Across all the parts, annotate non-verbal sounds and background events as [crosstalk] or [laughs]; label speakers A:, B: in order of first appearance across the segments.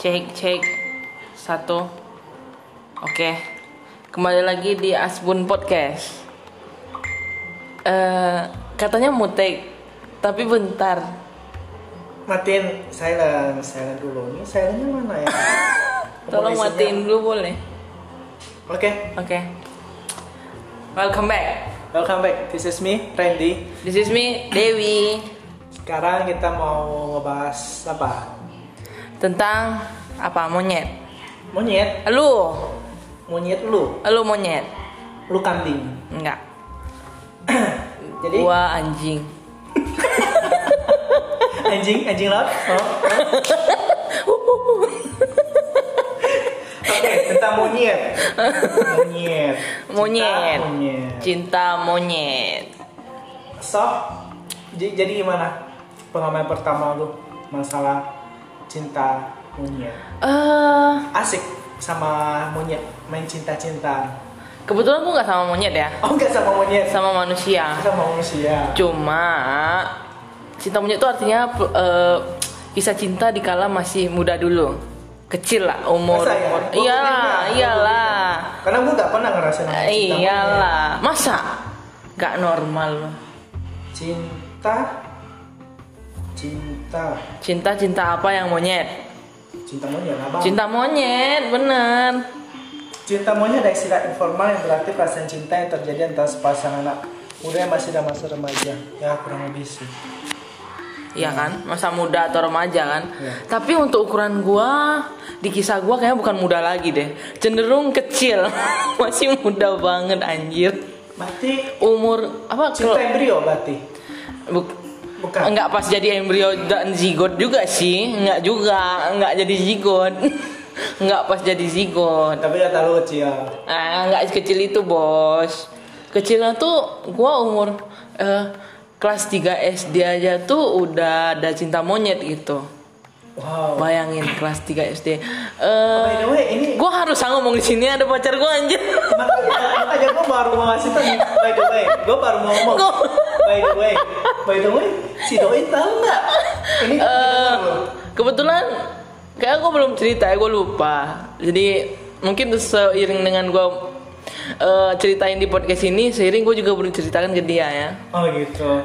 A: Cek cek satu. Oke, kembali lagi di Asbun Podcast. Eh, katanya mau take, tapi bentar.
B: matiin silent silent dulu ini silentnya mana ya
A: [coughs] Tolong
B: Isinya-
A: matiin dulu boleh.
B: oke
A: Oke. Welcome back.
B: welcome back this is me Randy
A: This is me Dewi
B: sekarang kita mau ngebahas apa
A: tentang apa monyet.
B: monyet
A: Lu,
B: monyet lu
A: lu monyet.
B: lu kambing
A: Enggak.
B: jadi
A: Gua anjing.
B: anjing anjing laut oh.
A: [laughs]
B: oke tentang
A: [laughs]
B: monyet monyet
A: Monyet.
B: Cinta monyet
A: Cinta monyet.
B: so j- jadi gimana pengalaman pertama lu masalah cinta monyet
A: Eh,
B: asik sama monyet main cinta-cinta
A: kebetulan gua nggak sama monyet ya,
B: oh enggak sama monyet
A: sama manusia.
B: sama manusia
A: Cuma cinta monyet itu artinya eh, kisah cinta dikala masih muda dulu, kecil lah umur.
B: Masa ya?
A: umur.
B: Gua
A: Iyalah,
B: beda, gua
A: Iya, iyalah,
B: beda. karena gue gak pernah ngerasain namanya Nah, cinta monyet.
A: iyalah. Iya Masa nggak normal lu?
B: cinta cinta
A: Cinta cinta apa yang monyet?
B: cinta monyet apa
A: Cinta monyet, bener.
B: Cinta monyet adalah istilah informal yang berarti perasaan cinta yang terjadi antara sepasang anak muda yang masih dalam masa remaja. Ya kurang lebih sih.
A: Iya kan, masa muda atau remaja kan.
B: Iya.
A: Tapi untuk ukuran gua, di kisah gua kayaknya bukan muda lagi deh. Cenderung kecil, [laughs] masih muda banget anjir.
B: Berarti
A: Umur apa?
B: cinta
A: kalau-
B: embrio berarti.
A: Buk-
B: Bukan.
A: enggak pas jadi embrio dan zigot juga sih, enggak juga, enggak jadi zigot. [laughs] enggak pas jadi zigot.
B: Tapi ya terlalu kecil.
A: Ah, nggak kecil itu bos. Kecilnya tuh gua umur eh, kelas 3 SD aja tuh udah ada cinta monyet gitu.
B: Wow.
A: Bayangin kelas 3 SD. Eh,
B: By the way, ini
A: gua harus ah ngomong di sini ada pacar gua anjir. [laughs]
B: makanya, makanya gue baru mau ngasih tau nih. By the way, gue baru mau ngomong. By the way, by the way, si doi tahu nggak? Ini
A: Eh,
B: kita tahu.
A: kebetulan kayak gua belum cerita ya, gua lupa. Jadi mungkin seiring dengan gua eh, ceritain di podcast ini, seiring gua juga belum ceritakan ke dia ya.
B: Oh gitu.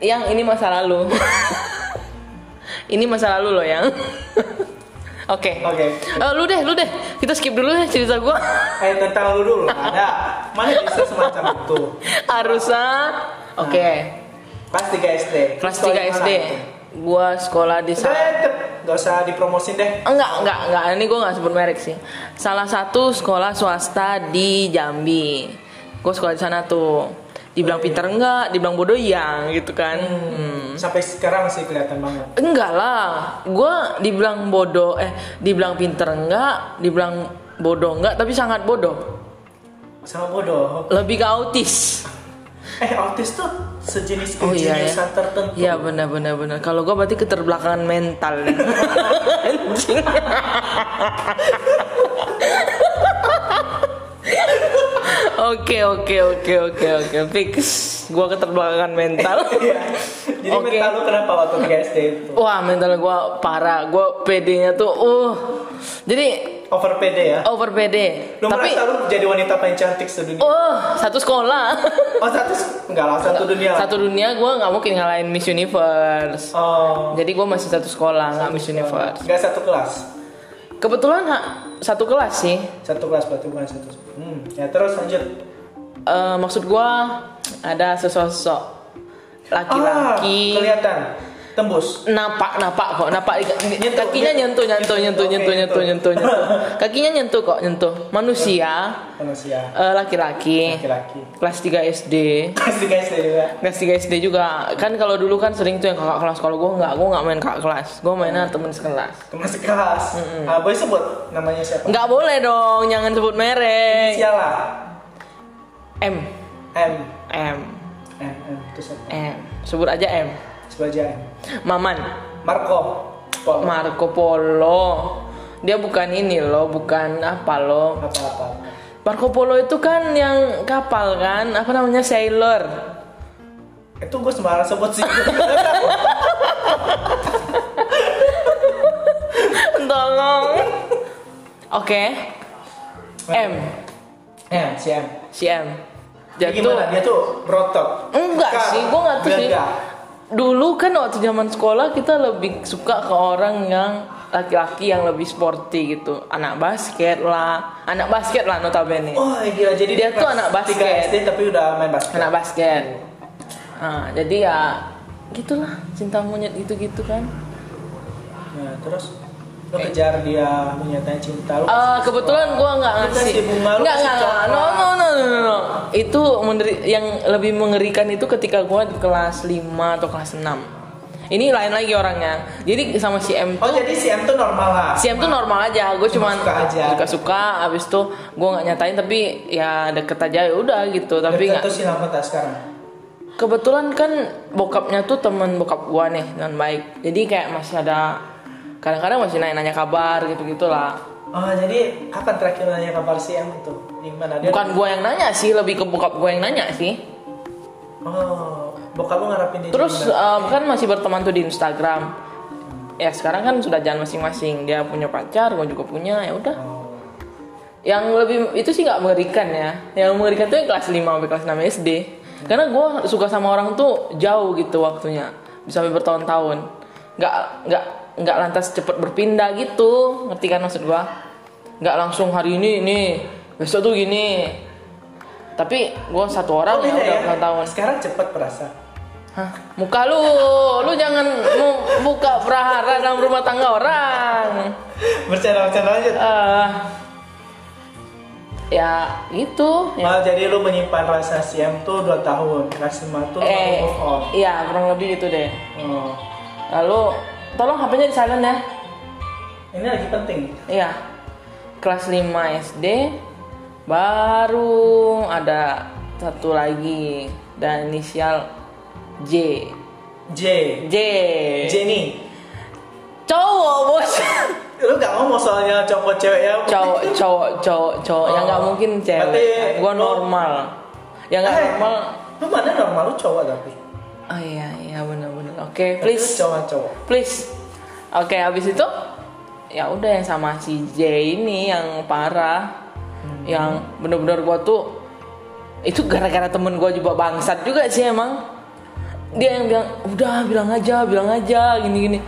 A: Yang ini masa lalu.
B: [laughs]
A: ini masa lalu loh yang. Oke.
B: Oke.
A: Eh, lu deh, lu deh. Kita skip dulu deh cerita gua. [laughs]
B: Eh tentang lu dulu ada. Mana bisa semacam itu?
A: Arusa. Oke.
B: Kelas 3 SD.
A: Kelas
B: Ah. Sekolah
A: 3
B: di mana
A: SD.
B: itu?
A: Gua sekolah di
B: Udah,
A: salah
B: Gak usah dipromosin deh.
A: Enggak, enggak, enggak. Ini gua nggak sebut merek sih. Salah satu sekolah swasta di Jambi. Gua sekolah di sana tuh. Dibilang pinter enggak, dibilang bodoh iya gitu kan. Hmm.
B: Sampai sekarang sih kelihatan banget.
A: Enggak lah, gue dibilang bodoh, eh dibilang pinter enggak, dibilang bodoh enggak, tapi sangat bodoh.
B: Sama bodoh.
A: Lebih ke autis.
B: Eh autis tuh sejenis
A: Oh iya ya.
B: kejeniusan tertentu.
A: Iya benar benar benar. Kalau gue berarti keterbelakangan mental. [laughs] Anjing. Oke oke oke oke oke fix. Gue keterbelakangan mental.
B: Iya. Jadi
A: Oke.
B: mental lu kenapa waktu 3 SD itu?
A: Wah mental gue parah. Gue PD-nya tuh uh. Jadi
B: Over PD ya?
A: over PD.
B: Lu
A: Tapi
B: merasa lu jadi wanita paling cantik sedunia?
A: Oh, satu sekolah.
B: Oh satu, enggak lah satu dunia.
A: satu dunia gue nggak mungkin ngalahin Miss Universe.
B: Oh.
A: Jadi gue masih satu sekolah, nggak Miss Universe.
B: Enggak satu kelas.
A: Kebetulan ha, satu kelas sih.
B: Satu kelas berarti bukan satu. Hmm. Ya terus lanjut.
A: Eh, maksud gue ada sesosok laki-laki.
B: Ah, kelihatan. Tembus.
A: napak napak kok napak di-
B: Nyentuh,
A: kakinya nyentuh nyentuh nyentuh
B: nyentuh. Oke,
A: nyentuh nyentuh
B: nyentuh.
A: nyentuh nyentuh kakinya nyentuh kok nyentuh manusia
B: Manusia.
A: eh, laki-laki
B: Laki-laki. [laughs]
A: kelas 3 SD
B: Kelas 3 SD juga.
A: Kelas 3 SD juga kan kalau dulu kan sering tuh yang kakak kelas kalau gue nggak gue nggak main kakak kelas gue mainnya temen sekelas
B: Teman sekelas. Ah, boleh sebut namanya siapa?
A: nggak boleh dong jangan sebut merek
B: Siala.
A: M
B: M.
A: M
B: M. M. Terus apa?
A: M sebut aja M
B: Sebagai M.
A: Maman
B: Marco. Pol.
A: Marco Polo dia bukan ini loh bukan apa loh
B: Apa-apa.
A: Marco Polo itu kan yang kapal kan apa namanya sailor
B: itu gue sembarang sebut sih
A: [laughs] Tolong. Oke. M.
B: ya si M
A: Si M.
B: dia
A: Jatuh.
B: gimana dia tuh brotot
A: Enggak
B: Kak,
A: sih, gue nggak tahu
B: dia
A: sih.
B: enggak.
A: Dulu kan waktu zaman sekolah kita lebih suka ke orang yang laki-laki yang lebih sporty gitu. Anak basket lah. Anak basket lah notabene.
B: Wah gila jadi
A: Dia tuh
B: kelas
A: anak
B: tiga
A: basket.
B: SD tapi udah main basket.
A: anak basket nah, jadi ya gitulah cinta monyet gitu gitu kan
B: Nah, terus lo kejar dia menyatakan cinta lo.
A: Eh, kebetulan gua nggak
B: Lu
A: ngasih
B: kasih bunga, lu
A: nggak
B: kasih
A: nggak nggak. no
B: coklat.
A: no no no no, no. itu menderi- yang lebih mengerikan itu ketika gua di kelas 5 atau kelas 6 ini lain lagi orangnya jadi sama si M
B: Oh jadi si M tuh normal lah.
A: Siam tuh normal aja, gue cuman
B: Suka aja.
A: suka-suka, abis itu gue nggak nyatain tapi ya deket aja ya udah gitu, tapi
B: Deket
A: nggak
B: tuh si Lamota sekarang.
A: Kebetulan kan bokapnya tuh temen bokap gua nih dengan baik. Jadi kayak masih ada kadang-kadang masih nanya-nanya kabar gitu-gitulah.
B: Oh jadi kapan terakhir nanya kabar si M itu? Gimana dia?
A: Bukan gua yang nanya sih, lebih ke bokap gua yang nanya sih.
B: Oh bokap lo ngarapin dia.
A: Terus
B: gimana?
A: eh, kan masih berteman tuh di Instagram. Ya sekarang kan sudah jalan masing-masing. Dia punya pacar, gua juga punya. Ya udah.
B: Oh.
A: Yang lebih itu sih nggak mengerikan ya. Yang mengerikan tuh yang kelas 5 sampai kelas 6 SD. Karena gua suka sama orang tuh jauh gitu waktunya. Bisa sampai bertahun-tahun. Nggak nggak nggak lantas cepet berpindah gitu. Ngerti kan maksud gua? Nggak langsung hari ini ini, besok tuh gini. Tapi gua satu
B: Oh,
A: orang ya
B: beda
A: udah bertahun-tahun.
B: Sekarang cepet perasa. [laughs]
A: Hah, muka lu, lu jangan mu- buka prahara dalam rumah tangga orang.
B: Bercanda bercanda aja.
A: Eh, ya gitu. Ya.
B: Malah Oh, jadi lu menyimpan rasa si M tuh 2 tahun. Kelas 5 tuh lu
A: Eh,
B: move on.
A: iya kurang lebih gitu deh.
B: Oh.
A: Lalu, tolong HP-nya di silent ya.
B: Ini lagi penting.
A: Iya. Kelas 5 SD baru ada satu lagi dan inisial J.
B: J.
A: J.
B: Jenny.
A: Cowok, Bos.
B: lu gak ngomong soalnya cowok cewek ya
A: cowok cowok cowok cowok yang nggak
B: Oh.
A: mungkin cewek
B: Berarti
A: gua
B: lu-
A: normal yang nggak
B: Eh.
A: normal
B: lu mana normal lu cowok tapi
A: oh iya iya benar-benar oke please
B: Lu cowok cowok
A: please oke habis itu ya udah yang sama si J ini yang parah
B: Hmm.
A: yang bener-bener gua tuh itu gara-gara temen gua juga bangsat juga sih emang dia yang bilang udah bilang aja bilang aja gini-gini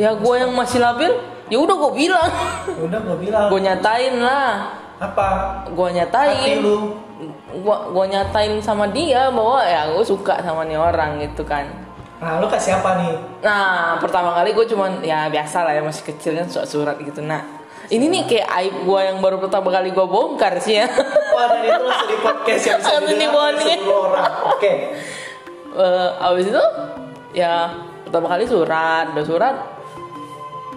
A: ya gua yang masih labil ya udah gua bilang [laughs]
B: udah gua bilang
A: gua nyatain lah
B: apa
A: gua
B: hati
A: nyatain
B: lu
A: gua gua nyatain sama dia bahwa ya gua suka sama nih orang gitu kan
B: nah lu kasih apa nih
A: nah pertama kali gue cuman ya biasa lah ya masih kecil kan surat surat gitu nah ini nih kayak aib gua yang baru pertama kali gua bongkar sih ya [laughs]
B: wah dan itu langsung di podcast yang bisa
A: Langsung
B: didengar oleh
A: dibohongin.
B: sepuluh orang oke
A: Eh, abis itu ya pertama kali surat udah surat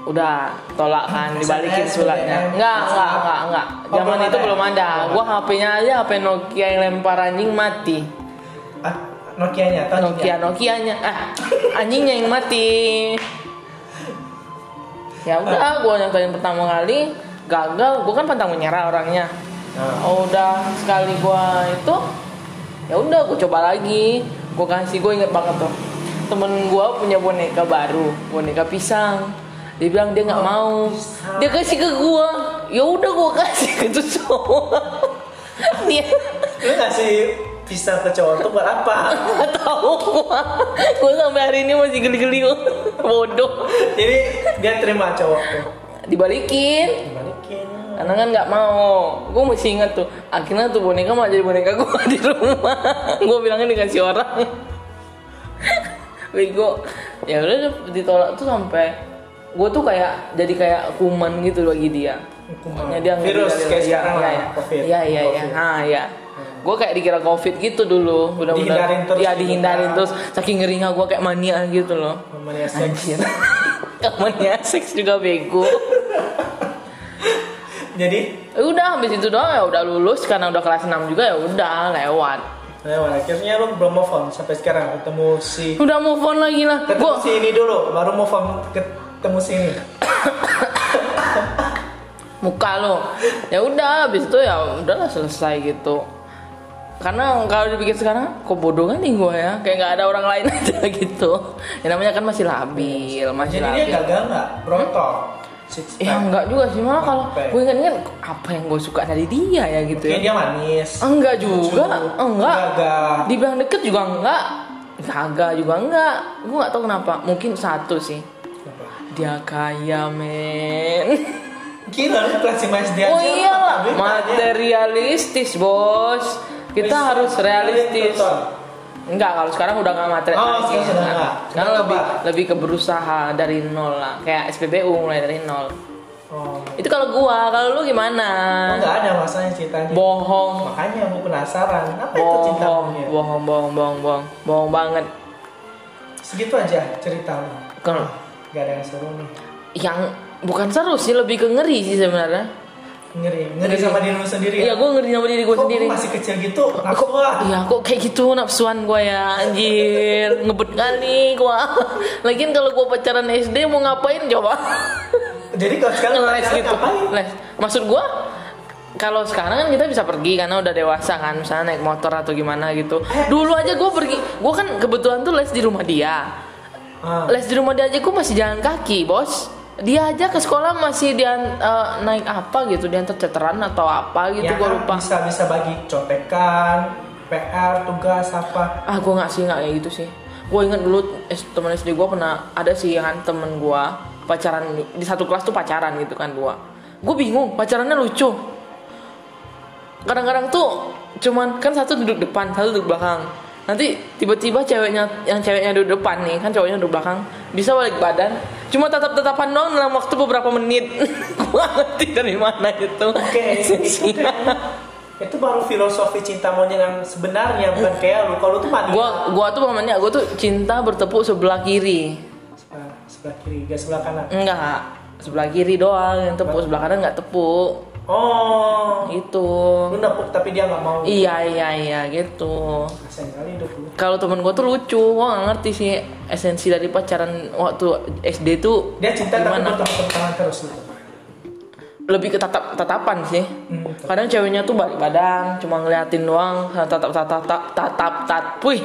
A: udah tolak kan dibalikin
B: SMS,
A: suratnya
B: BBM,
A: enggak enggak
B: WhatsApp.
A: enggak enggak
B: Oh,
A: zaman
B: belum
A: itu
B: ada.
A: belum ada gua HP-nya aja HP Nokia yang lempar anjing mati
B: ah, Nokia nya atau
A: Nokia Nokianya ah anjingnya yang mati ya udah gua nyatain pertama kali gagal gua kan pantang menyerah orangnya
B: Nah.
A: oh, udah sekali gua itu ya udah gua coba lagi gua kasih gua inget banget tuh temen gua punya boneka baru boneka pisang dia bilang dia nggak mau dia kasih ke gua ya udah gua kasih ke tuh cowok [laughs] dia
B: lu ngasih pisang ke cowok tuh buat
A: [laughs]
B: apa
A: Gak tau gua Gua sampai hari ini masih geli-geli [laughs] Bodoh
B: jadi dia terima cowok tuh
A: Dibalikin
B: dibalikin
A: Karena kan gak mau Gua masih ingat tuh Akhirnya tuh boneka malah jadi boneka gua [laughs] di rumah Gua bilangnya dikasih orang Bego Ya udah ditolak tuh sampai Gua tuh kayak jadi kayak kuman gitu bagi dia
B: Hukuman.
A: Makanya Ya, dia nggak
B: virus
A: bisa
B: kayak
A: dia-
B: sekarang
A: iya,
B: lah
A: iya.
B: covid
A: Iya iya iya.
B: Covid.
A: Nah iya. Gue kayak dikira covid gitu dulu. Udah
B: Dihindarin terus
A: Iya
B: gitu
A: dihindarin
B: kan.
A: terus. Saking ngerinya gue kayak mania gitu loh.
B: Momennya seks.
A: [laughs] Mania seks juga bego.
B: jadi
A: Eh, udah habis itu doang ya udah lulus karena udah kelas 6 juga ya udah lewat.
B: lewat akhirnya lu belum move on sampai sekarang ketemu si
A: Udah move on lagi lah.
B: ketemu
A: Gue
B: si ini dulu baru move on ketemu si ini
A: muka lo. Ya udah habis itu ya udahlah selesai gitu. karena kalau dipikir sekarang kok bodoh kan nih gue ya kayak nggak ada orang lain [laughs] aja gitu ya namanya kan masih labil masih
B: Jadi dia
A: labil
B: gagal nggak?
A: Hmm?
B: Berontok. Six pack.
A: ya enggak juga sih malah kalau
B: Apa ya?
A: gue ingat-ingat apa yang gue suka dari dia ya gitu ya
B: Mungkin dia manis.
A: enggak juga enggak
B: Gagah.
A: dibilang deket juga enggak gagah juga enggak gue nggak tahu kenapa mungkin satu sih
B: Kenapa?
A: dia kaya men
B: Gila lu kelas mas Ya, dia
A: oh
B: aja,
A: iyalah
B: apa duit ada?
A: materialistis bos kita
B: Wis,
A: harus realistis
B: tonton.
A: Enggak, kalau sekarang udah nggak materialis.
B: gitu, Oh, sekarang sudah
A: Nah,
B: nggak.
A: Sekarang
B: Kenapa?
A: lebih lebih ke berusaha dari nol lah. Kayak SPBU mulai dari nol.
B: Oh,
A: Itu kalau gua, kalau lu gimana?
B: oh, nggak ada masanya ceritanya.
A: Bohong.
B: Makanya aku penasaran apa itu cinta ya?
A: Bohong,
B: monyet?
A: bohong, bohong, bohong, bohong, bohong banget.
B: Segitu aja ceritanya.
A: Kalau
B: Gak ada yang seru nih.
A: yang bukan seru sih, lebih ke ngeri sih sebenarnya.
B: Ngeri, ngeri sama diri lu sendiri. ya?
A: Iya, gua ngeri sama diri gua
B: Kok
A: sendiri.
B: gua masih kecil gitu, aku lah.
A: Iya kok kayak gitu nafsuan gue ya anjir ngebet kali gue [laughs] Lagian kalau gue pacaran SD mau ngapain coba
B: Jadi kalau sekarang
A: [laughs] ngeles
B: pacaran
A: gitu
B: ngapain?
A: les maksud gue kalau sekarang kan kita bisa pergi karena udah dewasa kan misalnya naik motor atau gimana gitu dulu aja gue pergi gue kan kebetulan tuh les di rumah dia
B: Ah,
A: les di rumah dia aja gue masih jalan kaki bos dia aja ke sekolah masih dia naik apa gitu diantar ceteran atau apa gitu
B: ya
A: gue
B: kan
A: lupa
B: Bisa bisa bagi contekan, PR, tugas apa.
A: ah gue nggak sih nggak kayak gitu sih gue inget dulu S- temen SD gue pernah ada sih kan temen gue pacaran di satu kelas tuh pacaran gitu kan dua gue bingung pacarannya lucu kadang-kadang tuh cuman kan satu duduk depan satu duduk belakang nanti tiba-tiba ceweknya yang ceweknya duduk depan nih kan cowoknya duduk belakang bisa balik badan cuma tatap-tatapan doang dalam waktu beberapa menit [laughs] gue ngerti dari mana itu [laughs]
B: Oke, itu
A: esensinya.
B: kayak- itu baru filosofi cinta monyet yang sebenarnya bukan kayak lu. Kalau lu tuh manusia.
A: gua gua tuh momennya gua tuh cinta bertepuk sebelah kiri
B: sebelah, sebelah kiri, gak sebelah kanan.
A: Enggak, sebelah kiri doang yang tepuk, sebelah kanan nggak tepuk.
B: Oh,
A: Gitu.
B: lu nepuk tapi dia nggak mau.
A: Iya, iya, iya gitu.
B: Kasian kali hidup lu.
A: Kalau temen gue tuh lucu, gue gak ngerti sih esensi dari pacaran waktu SD tuh
B: Dia cinta tapi
A: Gimana?
B: bertepuk tangan terus gitu. lu.
A: lebih ke tatap tatapan sih.
B: Hmm.
A: Kadang ceweknya tuh balik badan, cuma ngeliatin doang, tatap tatap tatap tatap tat, wih.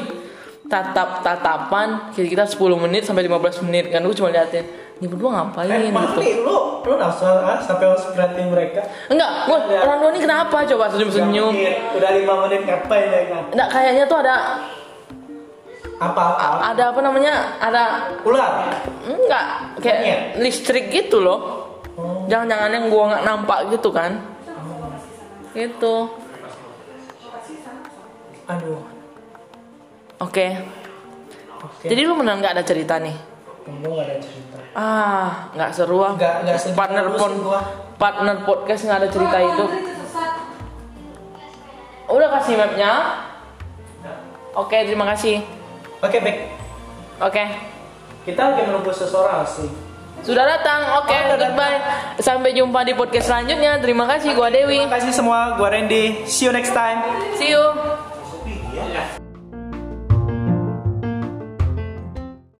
A: tatap tatapan kita 10 menit sampai 15 menit kan gue cuma liatin ini berdua
B: Eh,
A: ngapain
B: maaf
A: gitu
B: nih, lu, lu nafsu ah, sampai harus beratin mereka.
A: enggak gue orang tua ini kenapa coba senyum senyum
B: Iya, Udah lima menit ngapain ya kan?
A: Nggak kayaknya tuh ada
B: Apa-apa?
A: ada apa namanya? Ada
B: Ular.
A: enggak kayak
B: Monyet.
A: listrik gitu loh.
B: Oh.
A: Jangan-jangan yang gua nggak nampak gitu kan? Gitu.
B: Aduh.
A: Oke.
B: Oke.
A: Jadi lu benar nggak ada cerita nih?
B: Kamu gak ada cerita.
A: Ah, nggak seru ah.
B: Nggak- nggak seru
A: partner
B: terus
A: pon
B: gua.
A: partner podcast nggak ada cerita itu. Udah kasih mapnya. Oke, terima kasih.
B: Oke, Bek.
A: Oke.
B: Kita lagi menunggu seseorang sih.
A: Sudah datang. Oke,
B: Oh, udah datang.
A: goodbye. Sampai jumpa di podcast selanjutnya. Terima kasih gua Dewi.
B: Terima kasih semua. Gua Randy. See you next time.
A: See you.